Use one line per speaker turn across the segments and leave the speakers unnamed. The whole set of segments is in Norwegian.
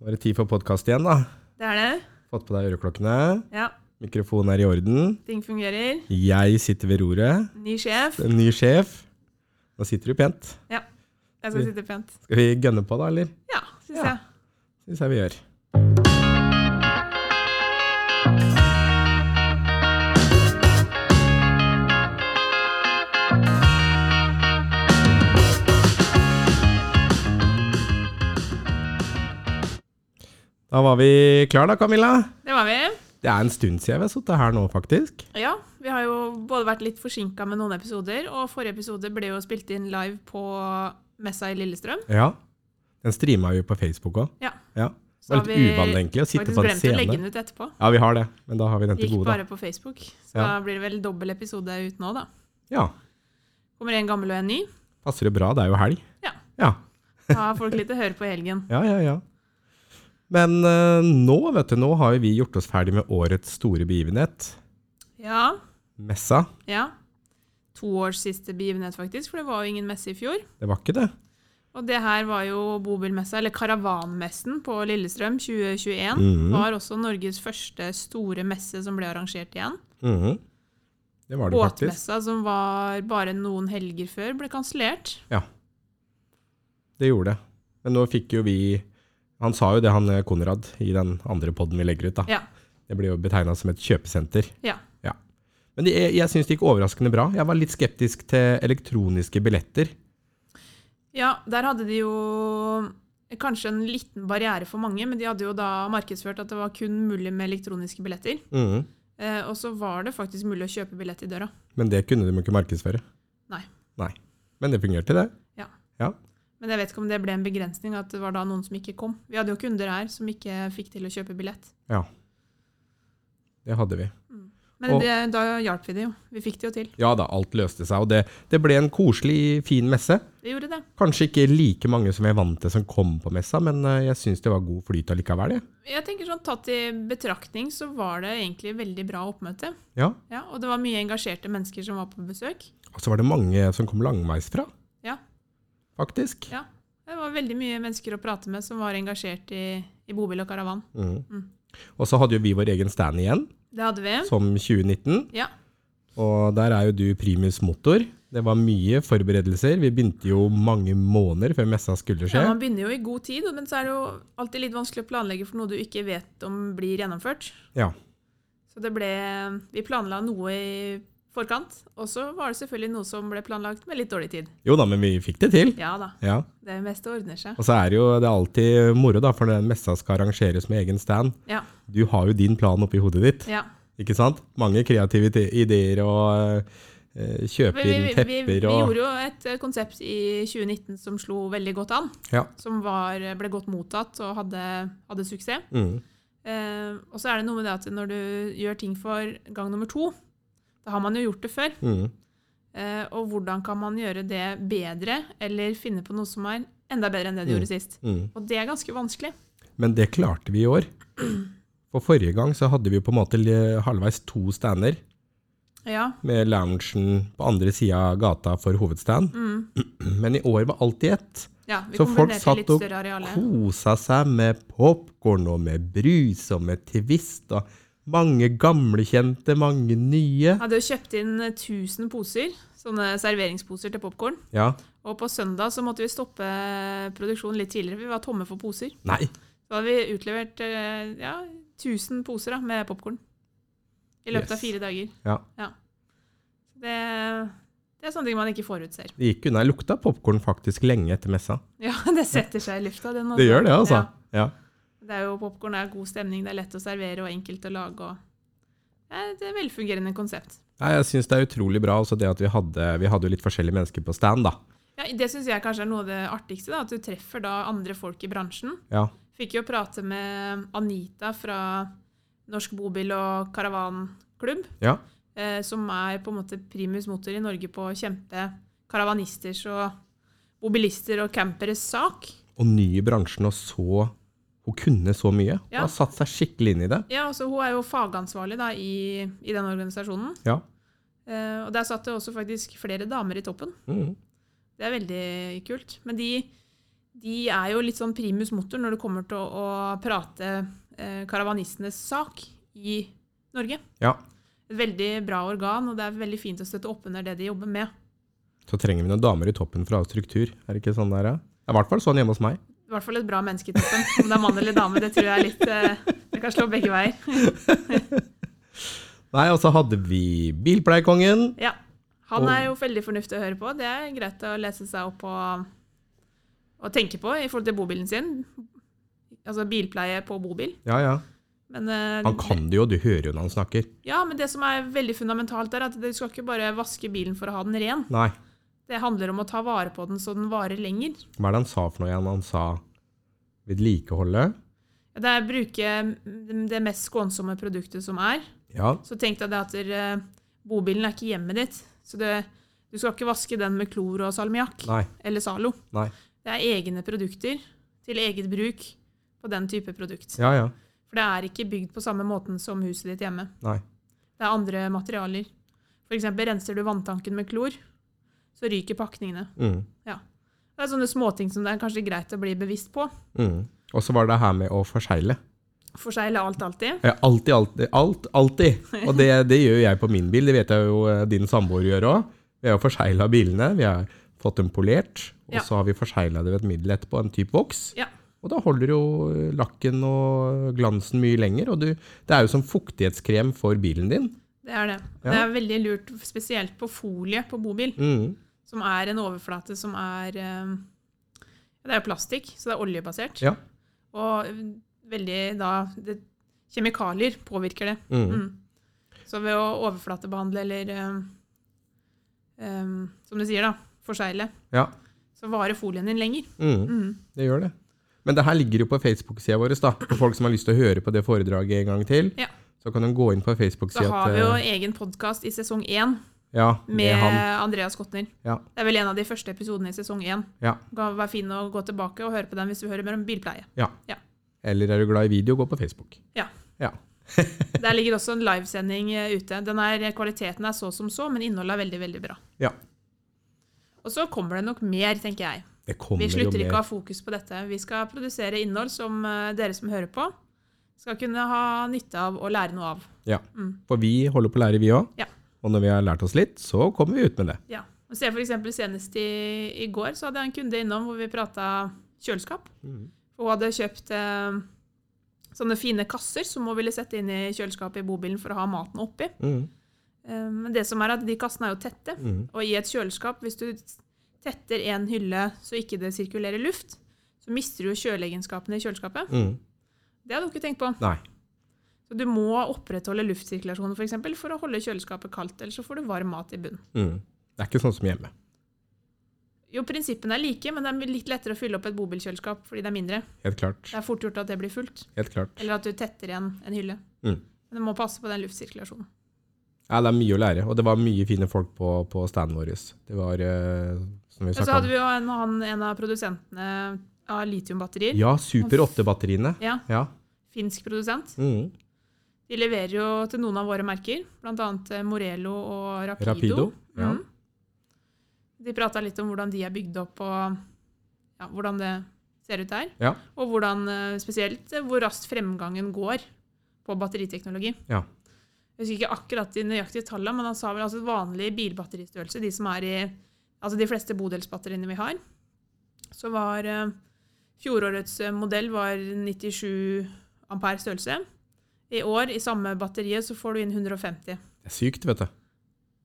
Nå er det tid for podkast igjen, da.
Det er det.
Fått på deg øreklokkene.
Ja.
Mikrofonen er i orden.
Ting fungerer.
Jeg sitter ved roret.
Ny sjef.
En ny sjef. Nå sitter du pent.
Jeg skal sitte pent.
Skal vi gønne på, da, eller?
Ja, syns
Ja.
jeg.
Syns jeg vi gjør. Da var vi klar da, Camilla.
Det var vi.
Det er en stund siden vi har sittet her nå, faktisk.
Ja, vi har jo både vært litt forsinka med noen episoder, og forrige episode ble jo spilt inn live på messa i Lillestrøm.
Ja. Den streama vi på Facebook òg.
Ja.
ja. Det
Så
var
har
litt
vi
uvanlig, egentlig, å sitte
Faktisk
på en
glemt å legge
scene.
den ut etterpå.
Ja, vi har det, men da har vi den til
Gikk
gode, da.
bare på Facebook. Så da
Ja.
blir det vel dobbel episode ut nå, da.
Ja.
Kommer en gammel og en ny.
Passer jo bra, det er jo helg.
Ja.
Ja.
Da har folk litt å høre på i helgen.
Ja, ja, ja. Men eh, nå, vet du, nå har jo vi gjort oss ferdig med årets store begivenhet,
Ja.
messa.
ja. To års siste begivenhet, faktisk, for det var jo ingen messe i fjor.
Det var ikke det.
Og det her var jo bobilmessa, eller Karavanmessen på Lillestrøm 2021.
Mhm.
Det var også Norges første store messe som ble arrangert igjen.
Mhm. Det var det faktisk.
Båtmessa, som var bare noen helger før, ble kansellert.
Det gjorde det. Men nå fikk jo vi Han sa jo det, han eh, Konrad, i den andre podden vi legger ut, da.
Ja.
Det blir jo betegna som et kjøpesenter.
Ja.
Men det, jeg, jeg syns det gikk overraskende bra. Jeg var litt skeptisk til elektroniske billetter.
Ja, der hadde de jo kanskje en liten barriere for mange, men de hadde jo da markedsført at det var kun mulig med elektroniske billetter.
Mhm.
Eh, og så var det faktisk mulig å kjøpe billett i døra.
Men det kunne de jo ikke markedsføre.
Nei.
Nei. Men det fungerte, det.
Men jeg vet ikke om det ble en begrensning, at det var da noen som ikke kom. Vi hadde jo kunder her som ikke fikk til å kjøpe billett.
Det hadde vi.
Men
Og-
det, da hjalp vi det jo. Vi fikk det jo til.
Ja da, alt løste seg, og det, det ble en koselig, fin messe.
Vi gjorde det.
Kanskje ikke like mange som jeg er vant til som kom på messa, men eh, jeg syns det var god flyt allikevel, jeg.
Jeg tenker sånn Tatt i betraktning så var det egentlig veldig bra oppmøte.
Ja.
Ja, Og det var mye engasjerte mennesker som var på besøk.
Og så var det mange som kom langveisfra,
Ja.
faktisk.
Ja. Det var veldig mye mennesker å prate med som var engasjert i, i bobil og karavan.
Mm.
Mm.
Og så hadde jo vi vår egen stand igjen,
Det hadde vi.
som 2019.
Ja.
Og der er jo du primus motor. Det var mye forberedelser. Vi begynte jo mange måneder før messa skulle
Ja,
skje.
man begynner jo i god tid, men så er det jo alltid litt vanskelig å planlegge for noe du ikke vet om blir gjennomført.
Ja.
Så det ble Vi planla noe i forkant, og så var det selvfølgelig noe som ble planlagt med litt dårlig tid.
Jo da, men vi fikk det til.
Ja da.
Ja.
Det meste ordner seg.
Og så er det jo det er alltid moro, da, for når den messa skal arrangeres med egen stand.
Ja.
Du har jo din plan oppi hodet ditt,
ja.
ikke sant? Mange kreative te- ideer og eh, kjøper
Vi, vi,
inn
vi, vi
tepper og
gjorde jo et eh, konsept i 2019 som slo veldig godt an.
Ja.
Som var, eh, ble godt mottatt og hadde, hadde suksess.
Mm,
Eh, og så er det noe med det at når du gjør ting for gang nummer to, da har man jo gjort det før.
mm.
Eh, og hvordan kan man gjøre det bedre, eller finne på noe som er enda bedre enn det du
Mm.
gjorde sist?
Mm.
Og det er ganske vanskelig.
Men det klarte vi i år. For forrige gang så hadde vi jo på en måte li- halvveis to stander,
Ja.
med loungen på andre sida av gata for hovedstand.
Mm.
Men i år var alt i ett.
ja vi
Så folk
kombinerte
satt
litt
og
større arealer.
kosa seg med popkorn og med brus og med Twist og mange gamlekjente, mange nye.
Hadde jo kjøpt inn eh, 1000 poser, sånne serveringsposer til popkorn.
Ja.
Og på søndag så måtte vi stoppe produksjonen litt tidligere, for vi var tomme for poser.
Nei,
Så hadde vi utlevert eh, ja, 1000 poser da, med popkorn i løpet
Yes.
av fire dager.
Ja.
Det, det er sånne ting man ikke forutser.
det gikk unna. Jeg lukta popkorn faktisk lenge etter messa.
Ja, det setter seg i lufta. Den,
Det gjør det, altså. Ja.
Ja, det er jo popkorn er god stemning, det er lett å servere og enkelt å lage. Og, det er et velfungerende konsept.
Nei, jeg syns det er utrolig bra også det at vi hadde, vi hadde jo litt forskjellige mennesker på stand, da.
Ja, det syns jeg kanskje er noe av det artigste, da, at du treffer da andre folk i bransjen.
Ja.
Fikk jo prate med Anita fra Norsk bobil- og karavanklubb,
Ja.
eh, som er på en måte primus motor i Norge på å kjempe karavanisters og mobilister og camperes sak.
Og ny i bransjen og så Hun kunne så mye. Hun
Ja.
har satt seg skikkelig inn i det.
Ja, altså Hun er jo fagansvarlig da, i, i den organisasjonen.
Ja.
Eh, og Der satt det også faktisk flere damer i toppen.
Mm.
Det er veldig kult. Men de, de er jo litt sånn primus motor når det kommer til å, å prate eh, karavanistenes sak i Norge.
Ja.
Et veldig bra organ, og det er veldig fint å støtte opp under det de jobber med.
Så trenger vi noen damer i toppen for å ha struktur. Er det ikke sånn der, ja? Det er i hvert fall sånn hjemme hos meg.
I hvert fall et bra menneske i toppen. Om det er mann eller dame, det tror jeg er litt eh, Det kan slå begge veier.
Nei, og så hadde vi Bilpleiekongen.
Ja. Han er jo veldig fornuftig å høre på. Det er greit å lese seg opp og, og tenke på i forhold til bobilen sin. Altså bilpleie på bobil.
Ja, ja.
Men, eh,
Han kan det jo, du hører jo når han snakker.
Ja, men det som er veldig fundamentalt, er at du skal ikke bare vaske bilen for å ha den ren.
Nei.
Det handler om å ta vare på den så den varer lenger.
Hva er det han sa for noe igjen? Han sa vedlikeholdet.
Det er å bruke det mest skånsomme produktet som er.
Ja.
Så tenk deg det at eh, bobilen er ikke hjemmet ditt. Så det, du skal ikke vaske den med klor og salmiakk
Nei.
eller Zalo.
Nei.
Det er egne produkter til eget bruk på den type produkt.
Ja, ja.
For det er ikke bygd på samme måten som huset ditt hjemme.
Nei.
Det er andre materialer. F.eks. renser du vanntanken med klor, så ryker pakningene.
Mm.
Det er sånne småting som det er kanskje greit å bli bevisst på.
Mm. Og så var det her med å forsegle.
Forsegle alt alltid.
Eh, Alltid, alltid. Alt, alltid. Og det, det gjør jo jeg på min bil. Det vet jeg jo eh, din samboer gjør òg. Vi har jo forsegla bilene. Vi har fått dem polert. Og
Ja.
så har vi forsegla det ved et middel etterpå, en type voks.
Ja.
Og da holder jo eh, lakken og glansen mye lenger. Og du, det er jo som fuktighetskrem for bilen din.
Det er det.
Ja.
Det er veldig lurt, spesielt på folie på bobil,
Mm.
som er en overflate som er eh, Det er jo plastikk, så det er oljebasert.
Ja.
Og eh, veldig da det, Kjemikalier påvirker det.
Mm.
Mm. Så ved å overflatebehandle eller eh, eh, Som du sier, da. Forsegle.
Ja.
Så varer folien din lenger.
Mm.
Mm.
Det gjør det. Men det her ligger jo på Facebook-sida vår, da. For folk som har lyst til å høre på det foredraget en gang til,
Ja.
så kan de gå inn på
Så
Facebook-sida
har vi jo egen podkast i sesong én
ja,
med
eh, med han.
Andreas Kotner.
Ja.
Det er vel en av de første episodene i sesong én.
Ja.
Det kan være fin å gå tilbake og høre på den hvis du hører mer om bilpleie.
Eller er du glad i video, gå på Facebook.
Der ligger også en livesending eh, ute. Den er, kvaliteten er så som så, men innholdet er veldig, veldig bra.
Ja.
Og så kommer det nok mer, tenker jeg.
Det kommer
Vi slutter ikke å
jo
ha fokus på dette. Vi skal produsere innhold som eh, dere som hører på, skal kunne ha nytte av og lære noe av.
Ja.
Mm.
For vi holder på å lære, vi òg.
Ja.
Og når vi har lært oss litt, så kommer vi ut med det.
Ja. Og se for eksempel Senest i, i går så hadde jeg en kunde innom hvor vi prata kjøleskap.
Mhm.
Hun hadde kjøpt eh, sånne fine kasser som hun ville sette inn i kjøleskapet i bobilen for å ha maten oppi.
Mm.
Eh, Men det som er at de kassene er jo tette.
Mm.
Og i et kjøleskap, hvis du tetter en hylle så ikke det sirkulerer luft, så mister du jo kjøleegenskapene i kjøleskapet.
Mm.
Det hadde hun ikke tenkt på.
Nei.
Så du må opprettholde luftsirkulasjonen for, eksempel, for å holde kjøleskapet kaldt, ellers så får du varm mat i bunnen.
Mm. Det er ikke sånn som hjemme.
Jo, prinsippene er like, men det er litt lettere å fylle opp et bobilkjøleskap fordi det er mindre.
Helt klart.
Det er fort gjort at det blir fullt,
Helt klart.
eller at du tetter igjen en hylle.
Mm.
Men du må passe på den luftsirkulasjonen.
Ja, det er mye å lære, og det var mye fine folk på, på standen vår. Det var eh, som vi
Og så
snakka
hadde
om.
vi jo en, han, en av produsentene av litiumbatterier.
Ja, Super 8-batteriene.
Ja.
Ja.
Finsk produsent.
Mm.
De leverer jo til noen av våre merker, bl.a. Morello og Rapido.
Rapido, ja.
Mm. De prata litt om hvordan de er bygd opp, og ja, hvordan det ser ut der.
Ja.
Og hvordan, eh, spesielt eh, hvor raskt fremgangen går på batteriteknologi.
Ja.
Jeg husker ikke akkurat de nøyaktige tallene, men han sa vel altså vanlig bilbatteristørrelse, de som er i altså de fleste bodelsbatteriene vi har, så var eh, fjorårets eh, modell var 97 ampere størrelse. I år, i samme batteriet, så får du inn 150.
Det er sykt, vet du.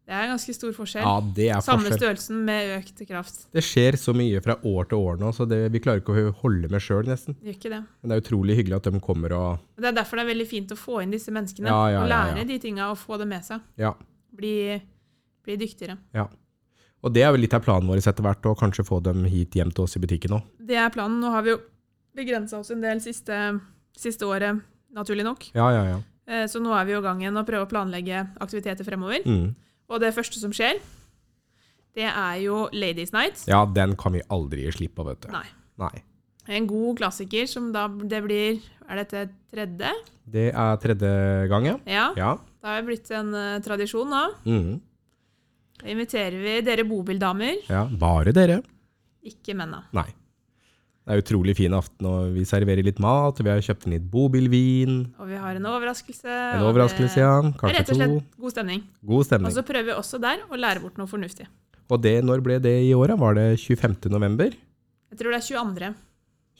Det er ganske stor forskjell.
Ja, det er
Samme
forskjell.
størrelsen med økt kraft.
Det skjer så mye fra år til år nå, så det, vi klarer ikke å holde med sjøl, nesten.
Det gjør ikke det.
Men det er utrolig hyggelig at de kommer og
Men det er derfor det er veldig fint å få inn disse menneskene.
Ja, ja,
og
ja,
lære
ja.
de tinga og få det med seg.
Ja.
Bli, bli dyktigere.
ja. Og det er vel litt av planen vår etter hvert, å kanskje få dem hit hjem til oss i butikken òg.
Det er planen. Nå har vi jo begrensa oss en del siste, siste året, naturlig nok.
Ja, ja, ja.
Eh, Så nå er vi jo i gang igjen og prøver å planlegge aktiviteter fremover.
Mm.
Og det første som skjer, det er jo Ladies Night.
Ja, den kan vi aldri gi slipp på, vet du.
Nei.
Nei.
En god klassiker som da det blir Er dette tredje?
Det er tredje gang, ja.
Ja.
Ja.
Det har jo blitt en eh, tradisjon nå.
Mm.
Da inviterer vi dere bobildamer,
ja. Bare dere.
ikke mennene.
Nei. Det er utrolig fin aften, og vi serverer litt mat, og vi har kjøpt inn litt bobilvin.
Og vi har en overraskelse.
En
og
overraskelse,
det-
ja.
Det er
Kanskje
rett og
to.
slett god stemning.
God
Og
stemning.
så prøver vi også der å lære bort noe fornuftig.
Og det, når ble det i året? Var det 25. november?
Jeg tror det er 22.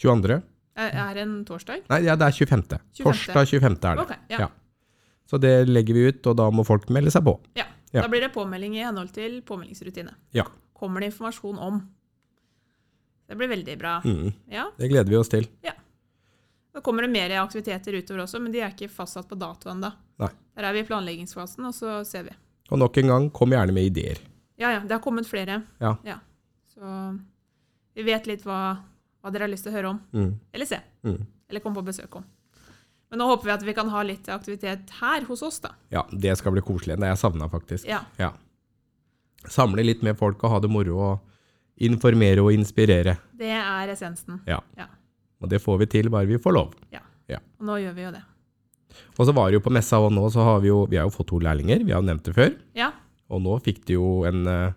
22.?
Er- Er en torsdag?
Nei, ja, det er 25.
25..
Torsdag 25. Mm. er det.
Ok, ja.
Ja. Så det legger vi ut, og da må folk melde seg på.
Ja.
Ja.
Da blir det påmelding i henhold til påmeldingsrutine.
Ja.
Kommer det informasjon om. Det blir veldig bra.
Mm,
Ja.
det gleder vi oss til.
Da kommer det mer aktiviteter utover også, men de er ikke fastsatt på dato ennå.
Nei.
Der er vi i planleggingsfasen, og så ser vi.
Og nok en gang, kom gjerne med ideer.
Ja, ja, det har kommet flere.
Ja.
Så vi vet litt hva, hva dere har lyst til å høre om.
Mm,
Eller se.
mm.
Eller komme på besøk om. Men nå håper vi at vi kan ha litt aktivitet her hos oss, da.
Ja, det skal bli koselig. Det har jeg savna, faktisk.
Ja.
Ja. Samle litt med folk og ha det moro, og informere og inspirere.
Det er essensen.
Ja.
Ja.
Og det får vi til bare vi får lov.
Og nå gjør vi jo det.
Og så var det jo på messa, og nå så har vi jo, vi har jo fått to lærlinger, vi har jo nevnt det før.
Ja.
Og nå fikk de jo en eh,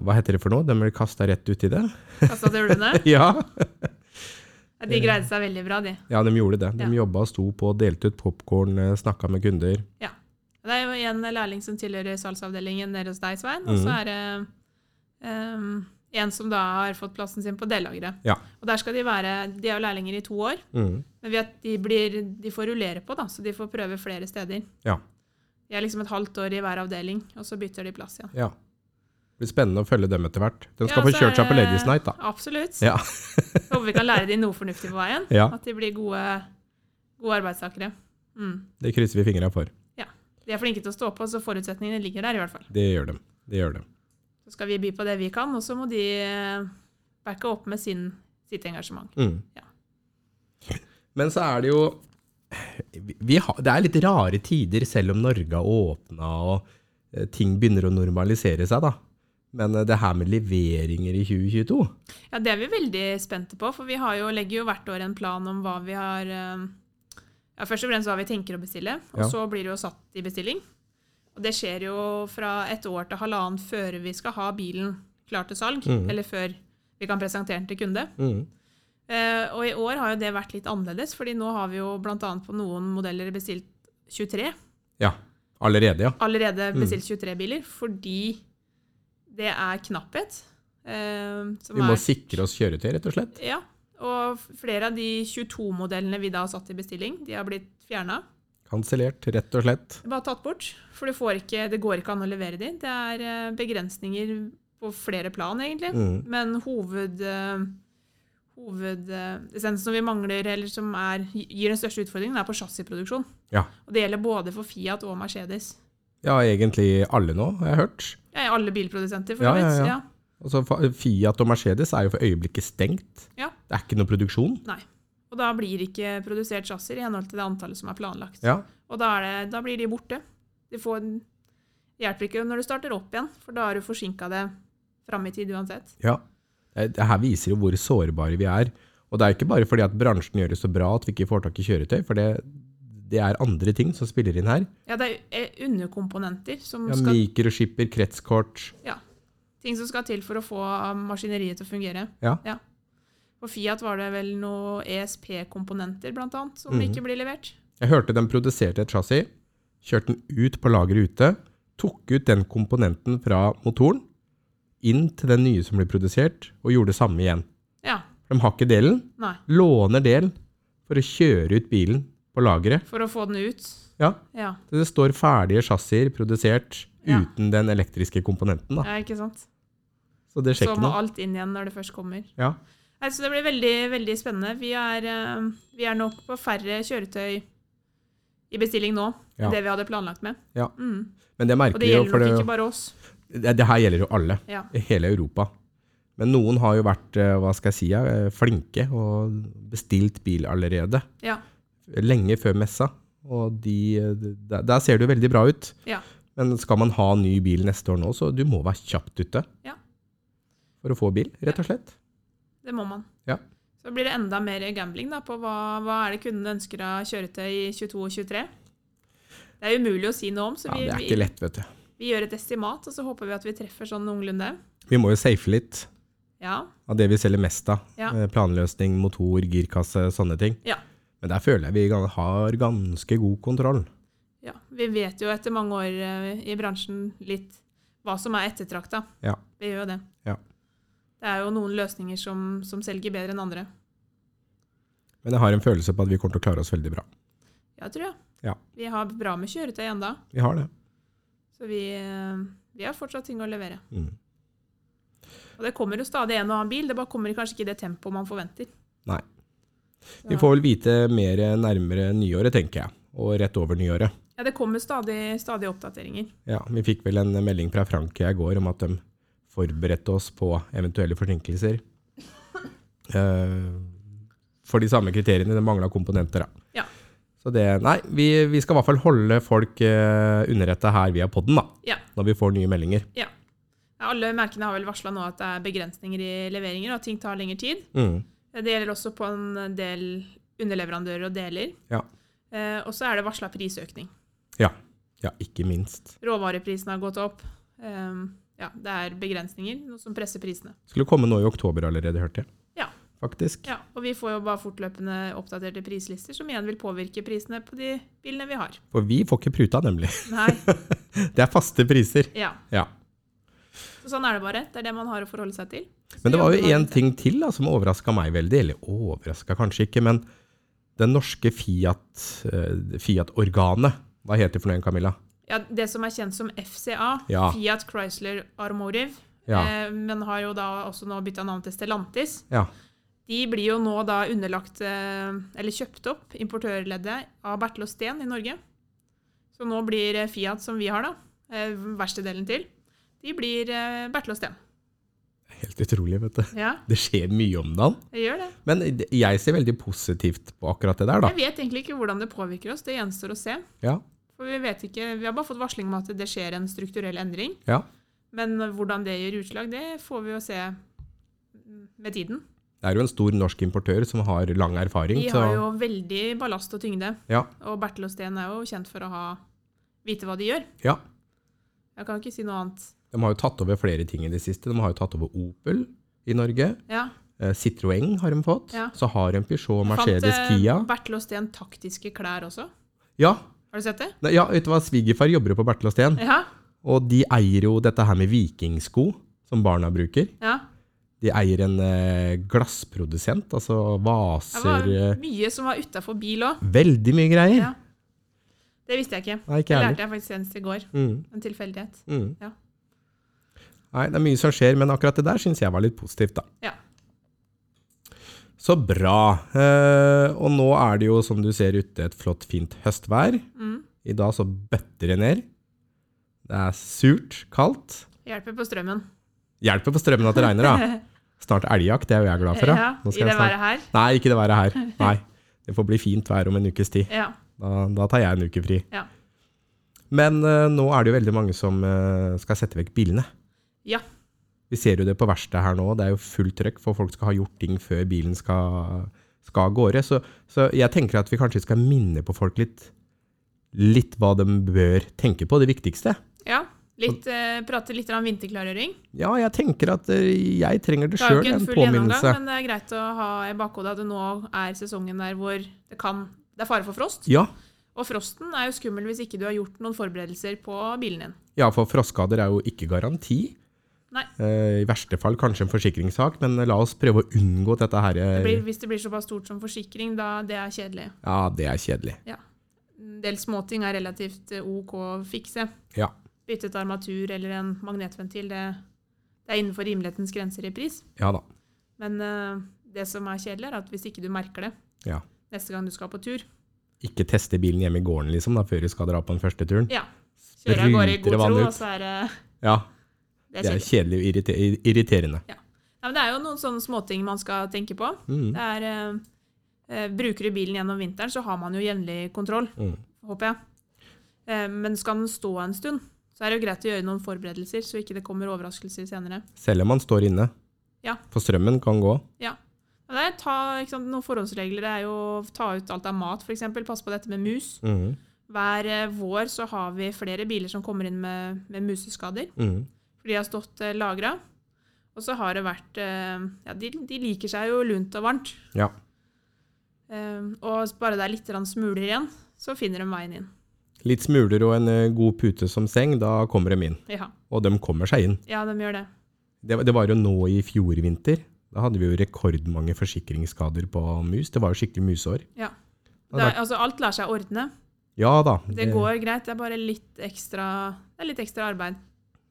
Hva heter det for noe? De ble kasta rett uti det?
Kasta til ulvene.
Ja.
Ja,
Eh.
De greide seg veldig bra, de.
ja, de gjorde det. De
Ja.
jobba og sto på, delte ut popkorn, snakka med kunder.
Ja. Det er jo en lærling som tilhører salgsavdelingen nede hos deg, Svein. Og så
Mhm.
er det ehm, en som da har fått plassen sin på dellageret.
Ja.
Og der skal de være De er jo lærlinger i to år,
Mm.
men vi at de, blir, de får rullere på, da, så de får prøve flere steder.
Ja.
De er liksom et halvt år i hver avdeling, og så bytter de plass igjen.
ja. Det blir spennende å følge dem etter hvert. De
Ja,
skal få
så
kjørt
er
seg på
det-
Ladies Night, da.
Absolutt.
Ja.
Håper vi kan lære dem noe fornuftig på veien.
Ja.
At de blir gode, gode arbeidstakere. Mm.
Det krysser vi fingra for.
De er flinke til å stå på, så forutsetningene ligger der i hvert fall.
Det gjør de. Det gjør de.
Så skal vi by på det vi kan, og så må de eh, backe opp med sin, sitt engasjement.
Mm.
Ja.
Men så er det jo vi- vi har, Det er litt rare tider, selv om Norge har åpna og eh, ting begynner å normalisere seg, da. Men eh, det her med leveringer i 2022
Ja, Det er vi veldig spente på, for vi har jo, legger jo hvert år en plan om hva vi har eh, ja, Først og fremst hva vi tenker å bestille, og
Ja.
så blir det jo satt i bestilling. Og det skjer jo fra et år til halvannen før vi skal ha bilen klar til salg,
Mhm.
eller før vi kan presentere den til kunde.
mm.
Eh, og i år har jo det vært litt annerledes, fordi nå har vi jo bl.a. på noen modeller bestilt 23.
Ja. Allerede, ja.
Allerede
Mm.
bestilt 23 biler, fordi det er knapphet. eh, som
Vi må
er-
sikre oss kjøretøy, rett og slett.
Ja. Og flere av de 22-modellene vi da har satt i bestilling, de har blitt fjerna.
Kansellert, rett og slett.
Bare tatt bort. For du får ikke, det går ikke an å levere de. Det er eh, begrensninger på flere plan, egentlig.
Mm.
Men hoved... Eh, Hovedessensen som vi mangler, eller som er, gir den største utfordringen, er på chassisproduksjon.
Ja.
Og det gjelder både for Fiat og Mercedes.
ja, egentlig alle nå, har jeg hørt.
Ja, i alle bilprodusenter, for
Ja,
så vidt.
ja, ja.
ja.
Altså, fa- Fiat og Mercedes er jo for øyeblikket stengt.
Ja.
Det er ikke noe produksjon.
Nei. Og da blir ikke produsert chassiser i henhold til det antallet som er planlagt.
Ja.
Og da, er det, da blir de borte. De får, det hjelper ikke når du starter opp igjen, for da har du forsinka det fram i tid uansett.
Ja. Det det her viser jo hvor sårbare vi er. Og det er ikke bare fordi at bransjen gjør det så bra at vi ikke får tak i kjøretøy, for det, det er andre ting som spiller inn her.
Ja, det er eh, underkomponenter som
Ja,
skal,
Mikroskipper, kretskort
ting som skal til for å få eh, maskineriet til å fungere.
Ja.
På Fiat var det vel noe ESP-komponenter, blant annet, som
Mhm.
ikke blir levert.
Jeg hørte de produserte et chassis, kjørte den ut på lageret ute, tok ut den komponenten fra motoren, inn til den nye som ble produsert, og gjorde det samme igjen.
Ja.
De har ikke delen,
Nei.
låner delen for å kjøre ut bilen på lageret.
For å få den ut.
Ja,
Ja.
så det står ferdige chassiser produsert
Ja.
uten den elektriske komponenten. Da.
ja, ikke sant?
Så det skjer
Så
ikke
må
noe.
alt inn igjen når det først kommer.
Ja.
Nei, så det blir veldig, veldig spennende. Vi er, eh, vi er nok på færre kjøretøy i bestilling nå
Ja.
enn det vi hadde planlagt med.
Ja.
Mm.
Men det
Og
merker
det
vi jo,
gjelder
for
nok
det,
ikke bare oss.
det, det her gjelder jo alle.
Ja.
I hele Europa. Men noen har jo vært eh, hva skal jeg si, eh, flinke og bestilt bil allerede.
Ja.
Lenge før messa. Og de, eh, der, der ser det jo veldig bra ut.
Ja.
Men skal man ha ny bil neste år nå, så du må være kjapt ute.
Ja.
For å få bil, rett og slett.
Det må man.
Ja.
Så blir det enda mer gambling da, på hva, hva er det kunden ønsker av kjøretøy i 22 og 23. Det er umulig å si noe om, så
Ja,
vi,
det er ikke
vi,
lett, vet du.
vi gjør et estimat, og så håper vi at vi treffer sånn noenlunde.
Vi må jo safe litt.
Ja.
av det vi selger mest av.
Ja.
Eh, Planløsning, motor, girkasse, sånne ting.
Ja.
Men der føler jeg vi gan- har ganske god kontroll.
ja. Vi vet jo etter mange år eh, i bransjen litt hva som er ettertrakta.
Ja.
Vi gjør jo det.
Ja.
Det er jo noen løsninger som, som selger bedre enn andre.
Men jeg har en følelse på at vi kommer til å klare oss veldig bra.
Ja, tror jeg.
Ja.
Vi har bra med kjøretøy enda,
Vi har det.
så vi, eh, vi har fortsatt ting å levere.
Mm.
Og det kommer jo stadig en og annen bil, det bare kommer kanskje ikke i det tempoet man forventer.
Nei.
Så-
Vi får vel vite mer nærmere nyåret, tenker jeg. Og rett over nyåret.
Ja, det kommer stadig, stadig oppdateringer.
Ja, vi fikk vel en melding fra Frankrike i går om at de forberedte oss på eventuelle forsinkelser. Eh, for de samme kriteriene. Det mangla komponenter, da.
Ja.
Så det Nei, vi, vi skal i hvert fall holde folk uh, underretta her via poden, da.
Ja.
Når vi får nye meldinger.
Ja, alle merkene har vel varsla nå at det er begrensninger i leveringer, og at ting tar lengre tid.
Mm.
Det gjelder også på en del underleverandører og deler.
Ja.
Eh, og så er det varsla prisøkning.
Ja. ja, ikke minst.
Råvareprisen har gått opp. Ehm, ja, det er begrensninger, noe som presser prisene.
Skulle komme nå i oktober allerede, hørte jeg.
Ja.
Faktisk.
Ja, og vi får jo bare fortløpende oppdaterte prislister, som igjen vil påvirke prisene på de bilene vi har.
For vi får ikke pruta, nemlig.
Nei,
Det er faste priser.
ja.
Ja.
Så sånn er det bare. Det er det man har å forholde seg til. Så
Men det var
jobber
jo
man
én
med det.
ting til da, som overraska meg veldig. Eller overraska kanskje ikke, men den norske Fiat, eh, Fiat-organet Hva heter det for noe, Camilla?
Ja, det som er kjent som FCA,
Ja.
Fiat Chrysler Armotive,
Ja.
eh, men har jo da også nå bytta navn til Stellantis.
Ja.
De blir jo nå da underlagt, eh, eller kjøpt opp, importørleddet av Bertel og Steen i Norge. Så nå blir eh, Fiat, som vi har da, eh, verkstedelen til, de blir eh, Bertel og Steen.
Helt utrolig, vet du.
Ja,
Det skjer mye om dagen.
det gjør det.
Men det- jeg ser veldig positivt på akkurat det der, da.
Jeg vet egentlig ikke hvordan det påvirker oss, det gjenstår å se.
Ja.
For vi vet ikke, vi har bare fått varsling om at det skjer en strukturell endring,
ja.
men hvordan det gjør utslag, det får vi jo se med tiden.
Det er jo en stor norsk importør som har lang erfaring.
De
så,
har jo veldig ballast og tyngde,
Ja.
og Bertel og Steen er jo kjent for å ha, vite hva de gjør.
ja.
Jeg kan ikke si noe annet.
De har jo tatt over flere ting i det siste. De har jo tatt over Opel i Norge.
Ja.
Eh, Citroën har de fått.
Ja.
Så har de Peugeot,
Jeg
Mercedes,
fant, eh,
Kia.
Bertel og Steen taktiske klær også.
Ja,
Har du sett det?
Nei, ja vet du hva? Svigerfar jobber jo på Bertel og Steen.
Ja.
Og de eier jo dette her med vikingsko, som barna bruker.
ja.
De eier en eh, glassprodusent, altså
Det
vaser
var
eh,
mye som var utafor bil òg.
Veldig mye greier.
Ja. Det visste jeg ikke.
Nei, ikke
Det
jeg heller.
lærte jeg faktisk senest i går.
Mm,
En tilfeldighet.
mm.
Ja.
Nei, det er mye som skjer, men akkurat det der syns jeg var litt positivt, da.
Ja.
Så bra. Eh, og nå er det jo, som du ser ute, et flott, fint høstvær.
Mm.
I dag så bøtter det ned. Det er surt, kaldt.
Hjelper på strømmen.
Hjelper på strømmen at det regner, da. Snart elgjakt, det er jo jeg glad for. da.
Ja,
Nå
I
skal
det
jeg snart...
været her.
Nei, ikke det været her. Nei. Det får bli fint vær om en ukes tid.
Ja.
Da, da tar jeg en uke fri.
Ja.
Men eh, nå er det jo veldig mange som eh, skal sette vekk bilene.
Ja.
Vi ser jo det på verkstedet her nå. Det er jo fullt trøkk, for folk skal ha gjort ting før bilen skal, skal av gårde. Så, så jeg tenker at vi kanskje skal minne på folk litt, litt hva de bør tenke på. Det viktigste.
ja. Litt, eh, prate litt om vinterklargjøring.
Ja, jeg tenker at eh, jeg trenger det
Det er jo
sjøl,
ikke
en
en full gjennomgang,
påminnelse.
men det er greit å ha i bakhodet at det nå er sesongen der hvor det kan Det er fare for frost.
Ja,
Og frosten er jo skummel hvis ikke du har gjort noen forberedelser på bilen din.
Ja, for frostskader er jo ikke garanti.
Nei.
Eh, I verste fall kanskje en forsikringssak, men la oss prøve å unngå dette her. eh.
Det blir, hvis det blir såpass stort som forsikring, da det er kjedelig.
Ja, det er kjedelig.
En del småting er relativt eh, OK å fikse.
Ja.
Byttet armatur eller en magnetventil, det, det er innenfor rimelighetens grenser i pris.
Ja da.
Men eh, det som er kjedelig, er at hvis ikke du merker det
Ja.
neste gang du skal på tur
Ikke teste bilen hjemme i gården liksom, da, før du skal dra på den første turen.
Ja. Kjører av gårde i
Spruter
god tro,
vann ut.
og så er det
Ja,
Det
det er
er kjedelig.
kjedelig og irrite irriterende.
Ja, men det er jo noen sånne småting man skal tenke på.
Mm.
Det er eh, eh, Bruker du bilen gjennom vinteren, så har man jo jevnlig kontroll.
Mm.
håper jeg. Eh, Men skal den stå en stund, så er det jo greit å gjøre noen forberedelser, så ikke det kommer overraskelser senere.
Selv om man står inne.
Ja.
For strømmen kan gå.
Og Det er ta, ikke sant, noen forhåndsregler det er jo å ta ut alt av mat, f.eks. Passe på dette med mus.
Mm.
Hver eh, vår så har vi flere biler som kommer inn med, med museskader.
Mm.
For de har stått lagra. eh, Og Og så har det vært eh, Ja, de, de liker seg jo lunt og varmt.
Ja.
Eh, og bare det er litt grann smuler igjen, så finner de veien inn.
Litt smuler og en eh, god pute som seng, da kommer de inn.
Ja,
Og de kommer seg inn.
ja de gjør det.
Det, var- det var jo nå i fjor vinter. Da hadde vi jo rekordmange forsikringsskader på mus. Det var jo skikkelig musår.
Ja.
Ja,
Det er, altså, alt lar seg ordne.
Ja da.
Det går greit. Det er bare litt ekstra, det er litt ekstra arbeid.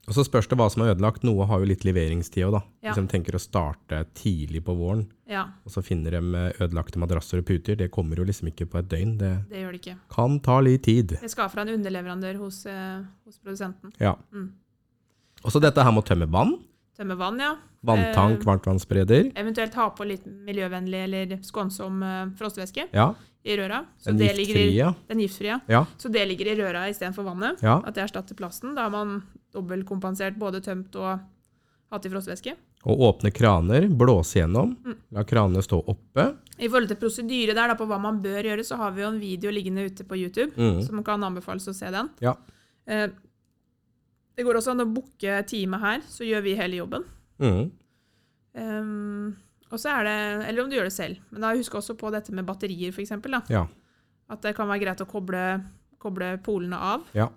Og så spørs det hva som er ødelagt. Noe har jo litt leveringstid òg, da.
Ja.
Hvis de tenker å starte tidlig på våren,
Ja,
og så finner de eh, ødelagte madrasser og puter, det kommer jo liksom ikke på et døgn. Det
det gjør det ikke.
kan ta litt tid.
Det skal fra en underleverandør hos, eh, hos produsenten.
Ja.
Mm.
Og så dette her med å tømme vann.
Tømme vann, ja.
Vanntank,
Eh.
varmtvannsspreder.
Eventuelt ha på litt miljøvennlig eller skånsom eh, frostvæske
Ja.
i røra. Så
Den
det ligger i-
giftfrie.
Den giftfrie.
Ja.
Så det ligger i røra istedenfor vannet.
Ja.
At det erstatter plasten. Da har man dobbeltkompensert, både tømt og hatt i frostvæske.
Og åpne kraner, blåse gjennom.
Mm.
La kranene stå oppe.
I forhold til prosedyre der da, på hva man bør gjøre, så har vi jo en video liggende ute på YouTube
Mm.
som kan anbefales å se den.
Ja.
Eh, det går også an å booke time her, så gjør vi hele jobben.
Mm.
Ehm, og så er det, Eller om du gjør det selv. Men da husk også på dette med batterier, f.eks.
Ja.
At det kan være greit å koble, koble polene av.
Ja.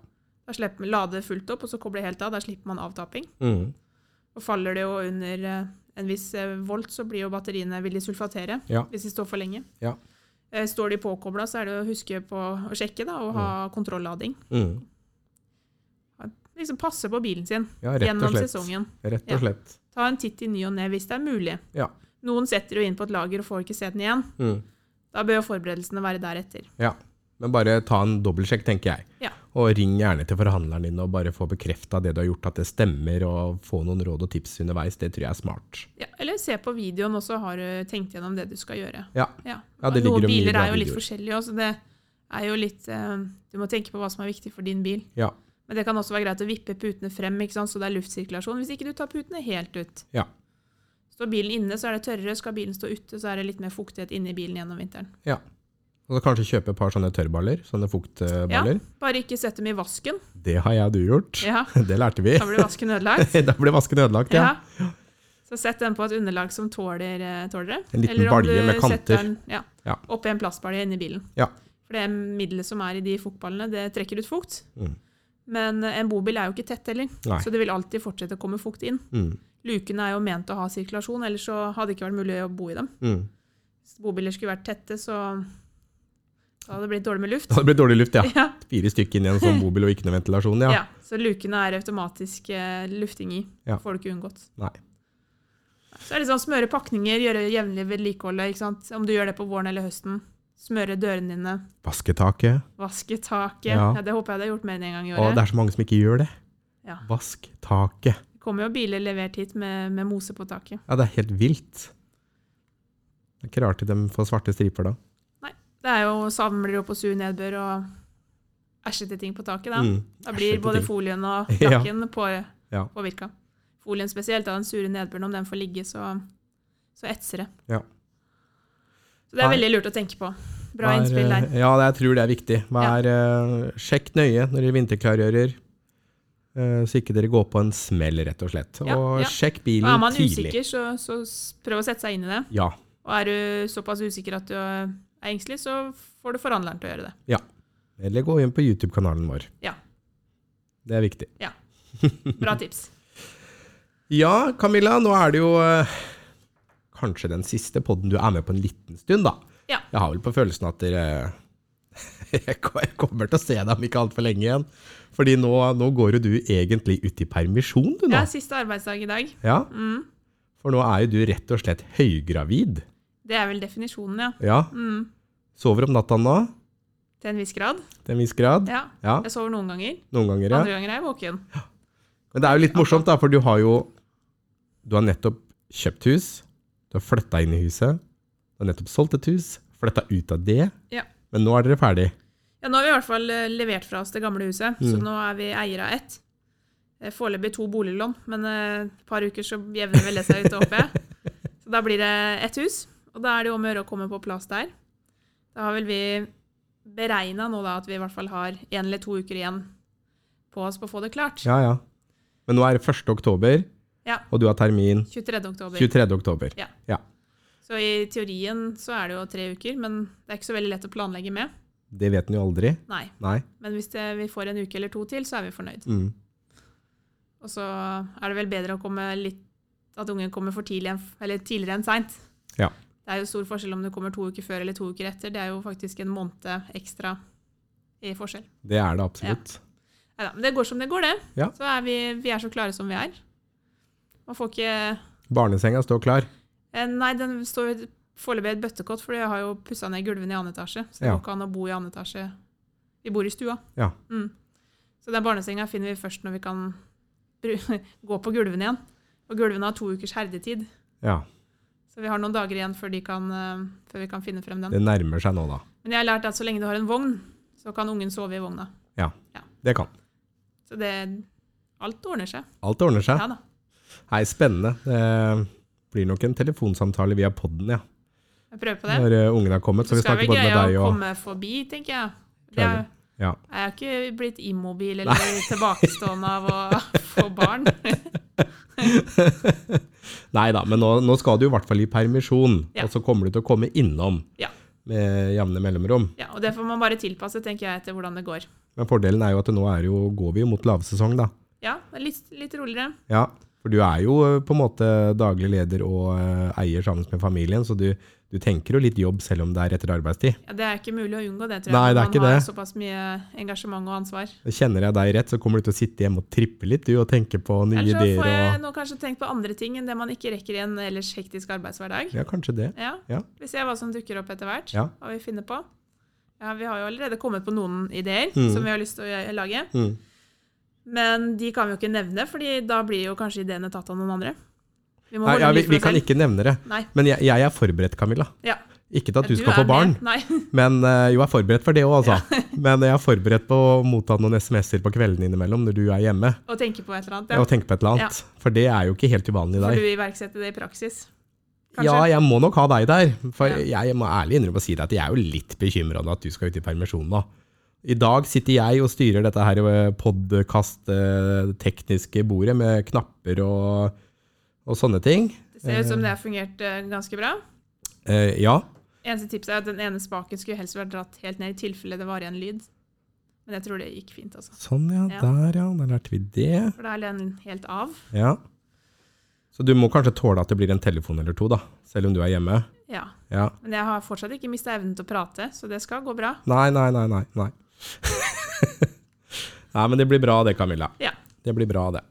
Da slipper man lade fullt opp, og så koble helt av. Da slipper man avtaping.
Mm.
Og faller det jo under eh, en viss eh, volt, så blir jo batteriene vil de sulfatere
Ja.
hvis de står for lenge.
Ja.
Eh, Står de påkobla, så er det å huske på å sjekke da, og ha kontrollading.
Mm.
Liksom passe på bilen sin
ja, rett
gjennom
og slett.
sesongen.
Rett
Ja.
og slett.
Ta en titt i ny og ne hvis det er mulig.
Ja.
Noen setter jo inn på et lager og får ikke se den igjen.
Mm.
Da bør jo forberedelsene være deretter.
Ja. Men bare ta en dobbeltsjekk, tenker jeg.
Ja.
Og ring gjerne til forhandleren din og bare få bekrefta det du har gjort, at det stemmer, og få noen råd og tips underveis. Det tror jeg er smart.
Ja, eller se på videoen, og så har du tenkt gjennom det du skal gjøre.
Ja.
Ja.
Ja, det ligger jo
Noen
mye
biler
bra
er jo litt
videoer.
forskjellige også, så det er jo litt eh, Du må tenke på hva som er viktig for din bil.
Ja.
Men det kan også være greit å vippe putene frem, ikke sant? så det er luftsirkulasjon. Hvis ikke du tar putene helt ut.
Ja.
Står bilen inne, så er det tørrere. Skal bilen stå ute, så er det litt mer fuktighet inni bilen gjennom vinteren.
ja. Og så kanskje kjøpe et par sånne tørrballer. Sånne fuktballer.
Bare ikke sett dem i vasken.
Det har jeg og du gjort.
Ja,
Det lærte vi.
Da blir vasken ødelagt.
da ble vasken ødelagt, ja.
Ja. Så sett den på et underlag som tåler, eh, tåler det.
En liten
Eller om
balje
du
med kanter.
setter Den, ja,
Ja.
Oppi en plastbalje inni bilen.
Ja.
For det middelet som er i de fuktballene, det trekker ut fukt.
Mm.
Men eh, en bobil er jo ikke tett heller,
Nei.
så det vil alltid fortsette å komme fukt inn.
Mm.
Lukene er jo ment å ha sirkulasjon, ellers så hadde det ikke vært mulig å bo i dem.
Mm.
Hvis bobiler skulle vært tette, så da hadde det blitt dårlig med luft.
Det hadde blitt dårlig luft, ja.
Ja.
Fire stykker inn i en sånn bobil og ikke noe ventilasjon,
Ja.
ja.
Så lukene er automatisk eh, lufting i.
Ja.
Får du ikke unngått.
Nei.
Så er det sånn smøre pakninger, gjøre jevnlig vedlikeholdet. ikke sant? Om du gjør det på våren eller høsten. Smøre dørene dine,
Vasketaket.
vaske taket. Ja.
Ja.
Det håper jeg du har gjort mer enn en gang i
Og
året.
det er så mange som ikke gjør det.
Ja.
Vask taket.
Det kommer jo biler levert hit med, med mose på taket.
Ja, det er helt vilt. Det er ikke rart de får svarte striper da.
Det er jo samler opp på sur nedbør og æsjete ting på taket. Da,
Mm,
da blir
æsjete
både
ting.
folien og
Ja.
lakken på,
Ja.
påvirka. Folien spesielt, da, den sure nedbøren, om den får ligge, så, så etser det.
Ja.
Så det er
Nei.
veldig lurt å tenke på. Bra
Vær,
innspill der.
eh, Ja, det- jeg tror det er viktig. Vær, eh, sjekk nøye når dere vinterklargjører, eh, så ikke dere går på en smell, rett og slett.
Ja,
og
ja.
sjekk
Og
bilen
er man
tidlig.
usikker, så, så s- prøv å sette seg inn i det.
Ja,
Og er du såpass usikker at du eh, er engstelig, så får du forhandleren til å gjøre det.
eller gå inn på YouTube-kanalen vår.
Ja.
Det er viktig.
Bra tips.
Ja, Camilla, nå er det jo eh, kanskje den siste podden du er med på en liten stund, da.
Ja.
Jeg har vel på følelsen at dere Jeg ko- jeg kommer til å se deg om ikke altfor lenge igjen. Fordi nå, nå går jo du egentlig ut i permisjon, du nå.
Ja, siste arbeidsdag i dag.
Ja,
Mm.
For nå er jo du rett og slett høygravid.
Det er vel definisjonen, ja.
Ja.
Mm.
Sover om natta nå,
Til en viss grad.
til en viss grad.
Ja.
Ja,
Jeg sover noen ganger.
Noen ganger, ja.
Andre ganger er jeg våken.
Men det er jo litt morsomt, da, for du har jo Du har nettopp kjøpt hus. Du har flytta inn i huset. Du har nettopp solgt et hus. Flytta ut av det.
Ja.
Men nå er dere ferdig.
Ja, nå har vi i hvert fall eh, levert fra oss det gamle huset, så
Mm.
nå er vi eiere av ett. Eh, Foreløpig to boliglån, men eh, et par uker så jevner vel det seg ut, håper jeg. Så da blir det ett hus, og da er det jo om å gjøre å komme på plass der. Da har vel vi beregna nå da at vi i hvert fall har én eller to uker igjen på oss på å få det klart.
Ja, ja. Men nå er det 1. oktober,
Ja.
og du har termin
23. oktober.
23. oktober.
Ja.
Ja.
Så i teorien så er det jo tre uker, men det er ikke så veldig lett å planlegge med.
Det vet en jo aldri.
Nei.
Nei.
Men hvis det, vi får en uke eller to til, så er vi fornøyd.
Mm.
Og så er det vel bedre å komme litt At ungen kommer for tidlig enn, eller tidligere enn seint.
Ja.
Det er jo stor forskjell om du kommer to uker før eller to uker etter. Det er jo faktisk en måned ekstra i forskjell.
Det er det absolutt.
Neida, men det går som det går, det.
Ja.
Så er vi, vi er så klare som vi er. Man får ikke
Barnesenga står klar.
eh, Nei, den står jo foreløpig i et bøttekott, for jeg har jo pussa ned gulvene i annen etasje. Så det
Ja.
går ikke an å bo i annen etasje. Vi bor i stua.
Ja.
Mm. Så den barnesenga finner vi først når vi kan bru- gå på gulvene igjen. Og gulvene har to ukers herdetid,
Ja.
så vi har noen dager igjen før, de kan, eh, før vi kan finne frem den.
Det nærmer seg nå, da.
Men jeg har lært at så lenge du har en vogn, så kan ungen sove i vogna.
Det kan.
Så det Alt ordner seg.
Alt ordner seg.
Ja da.
Nei, spennende. Det blir nok en telefonsamtale via podden, ja.
Jeg prøver på det.
Når eh, ungene har kommet. Så
Du
vi
skal
snakker
vel
både med
greie
deg
å
og
komme forbi, tenker jeg. Det er,
Prøver. Ja.
jeg er ikke blitt immobil eller tilbakestående av å få barn.
Nei da, men nå, nå skal du i hvert fall i permisjon,
Ja.
og så kommer du til å komme innom
Ja.
med jevne mellomrom.
Ja, og det får man bare tilpasse, tenker jeg, etter hvordan det går.
Men fordelen er jo at nå er jo, går vi jo mot lavsesong, da.
Ja, det er litt, litt roligere.
Ja, for du er jo eh, på en måte daglig leder og eh, eier sammen med familien, så du, du tenker jo litt jobb selv om det er etter arbeidstid.
Ja, det er ikke mulig å unngå det, tror jeg.
Nei, det er
når man
ikke
har
det.
såpass mye engasjement og ansvar.
Kjenner jeg deg rett, så kommer du til å sitte hjemme og trippe litt du, og tenke på nye
Ellers så
ideer.
får jeg
Og,
nå kanskje tenkt på andre ting enn det man ikke rekker i en ellers hektisk arbeidshverdag.
ja, kanskje det.
Ja.
Ja.
Vi ser hva som dukker opp etter hvert,
Ja.
hva vi finner på. Ja, vi har jo allerede kommet på noen ideer
Mm.
som vi har lyst til å gjø- lage.
Mm.
Men de kan vi jo ikke nevne, fordi da blir jo kanskje ideene tatt av noen andre. Vi må
Nei,
holde
ja,
dem
vi,
litt for
vi
oss
kan
selv.
ikke nevne det.
Nei.
Men jeg, jeg er forberedt, Camilla.
Ja.
Ikke til at du, skal
er
få barn,
det. Nei.
men eh, jo, jeg er forberedt for det òg, altså. Men jeg er forberedt på å motta noen SMS-er på kveldene innimellom når du er hjemme
Å tenke på et eller annet.
og tenke på et eller annet. For det er jo ikke helt uvanlig i
Får
dag.
du iverksette det i praksis?
Ja, jeg må nok ha deg der. For
Ja.
jeg må ærlig innrømme å si deg at jeg er jo litt bekymra nå at du skal ut i permisjon nå. I dag sitter jeg og styrer dette her eh, podkast-tekniske bordet med knapper og, og sånne ting.
Det ser ut som det har fungert eh, ganske bra.
Eh, ja.
Eneste tipset er at den ene spaken skulle helst vært dratt helt ned i tilfelle det var igjen lyd. Men jeg tror det gikk fint, altså.
Sånn, ja.
Ja.
Der, ja. Da lærte vi det.
For da er den helt av.
Ja. Så du må kanskje tåle at det blir en telefon eller to, da, selv om du er hjemme.
Ja.
Ja.
Men jeg har fortsatt ikke mista evnen til å prate, så det skal gå bra.
Nei, nei, nei, nei. Nei, nei men det blir bra det, Camilla.
Ja,
Det blir bra det.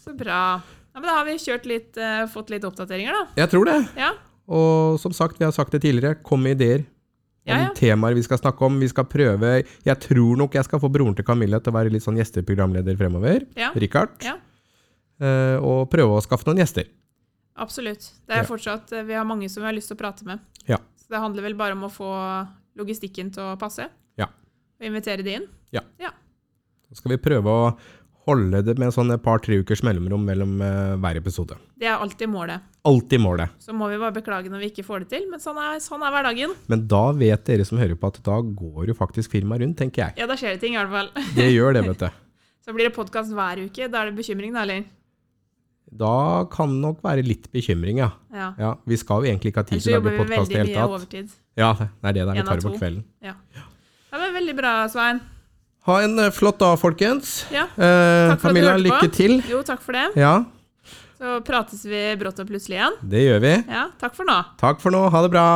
så bra. Ja, men da har vi kjørt litt, eh, fått litt oppdateringer, da.
Jeg tror det.
Ja.
Og som sagt, vi har sagt det tidligere, kom med ideer om
Ja, ja.
temaer vi skal snakke om. Vi skal prøve Jeg tror nok jeg skal få broren til Camilla til å være litt sånn gjesteprogramleder fremover.
ja.
Richard.
Ja.
Eh, og prøve å skaffe noen gjester.
Absolutt. Det er
Ja.
fortsatt, eh, Vi har mange som vi har lyst til å prate med.
Ja.
Så det handler vel bare om å få logistikken til å passe.
Ja.
Og invitere de inn.
Så skal vi prøve å holde det med sånn et par-tre ukers mellomrom mellom eh, hver episode.
Det er alltid målet.
Alltid målet.
Så må vi bare beklage når vi ikke får det til, men sånn er, sånn er hverdagen.
Men da vet dere som hører på at da går jo faktisk firmaet rundt, tenker jeg.
Ja, da skjer det ting i hvert fall.
Det gjør det, vet du.
Så blir det podkast hver uke. Da er det bekymring, da, eller?
Da kan nok være litt bekymring, ja.
Ja.
ja vi skal jo egentlig ikke ha tid
Ellers
til å
så jobber
lage
vi
podkast i
veldig
det
mye
hele tatt.
overtid.
Ja, det er det der
En
vi tar
av
det på
to.
kvelden.
Ja, men Veldig bra, Svein.
Ha en eh, flott dag, folkens.
Ja.
Eh,
Takk for at du
Camilla,
hørte på.
lykke til.
Jo, takk for det.
Ja,
Så prates vi brått og plutselig igjen.
det gjør vi.
Ja, takk for nå.
Takk for nå. Ha det bra.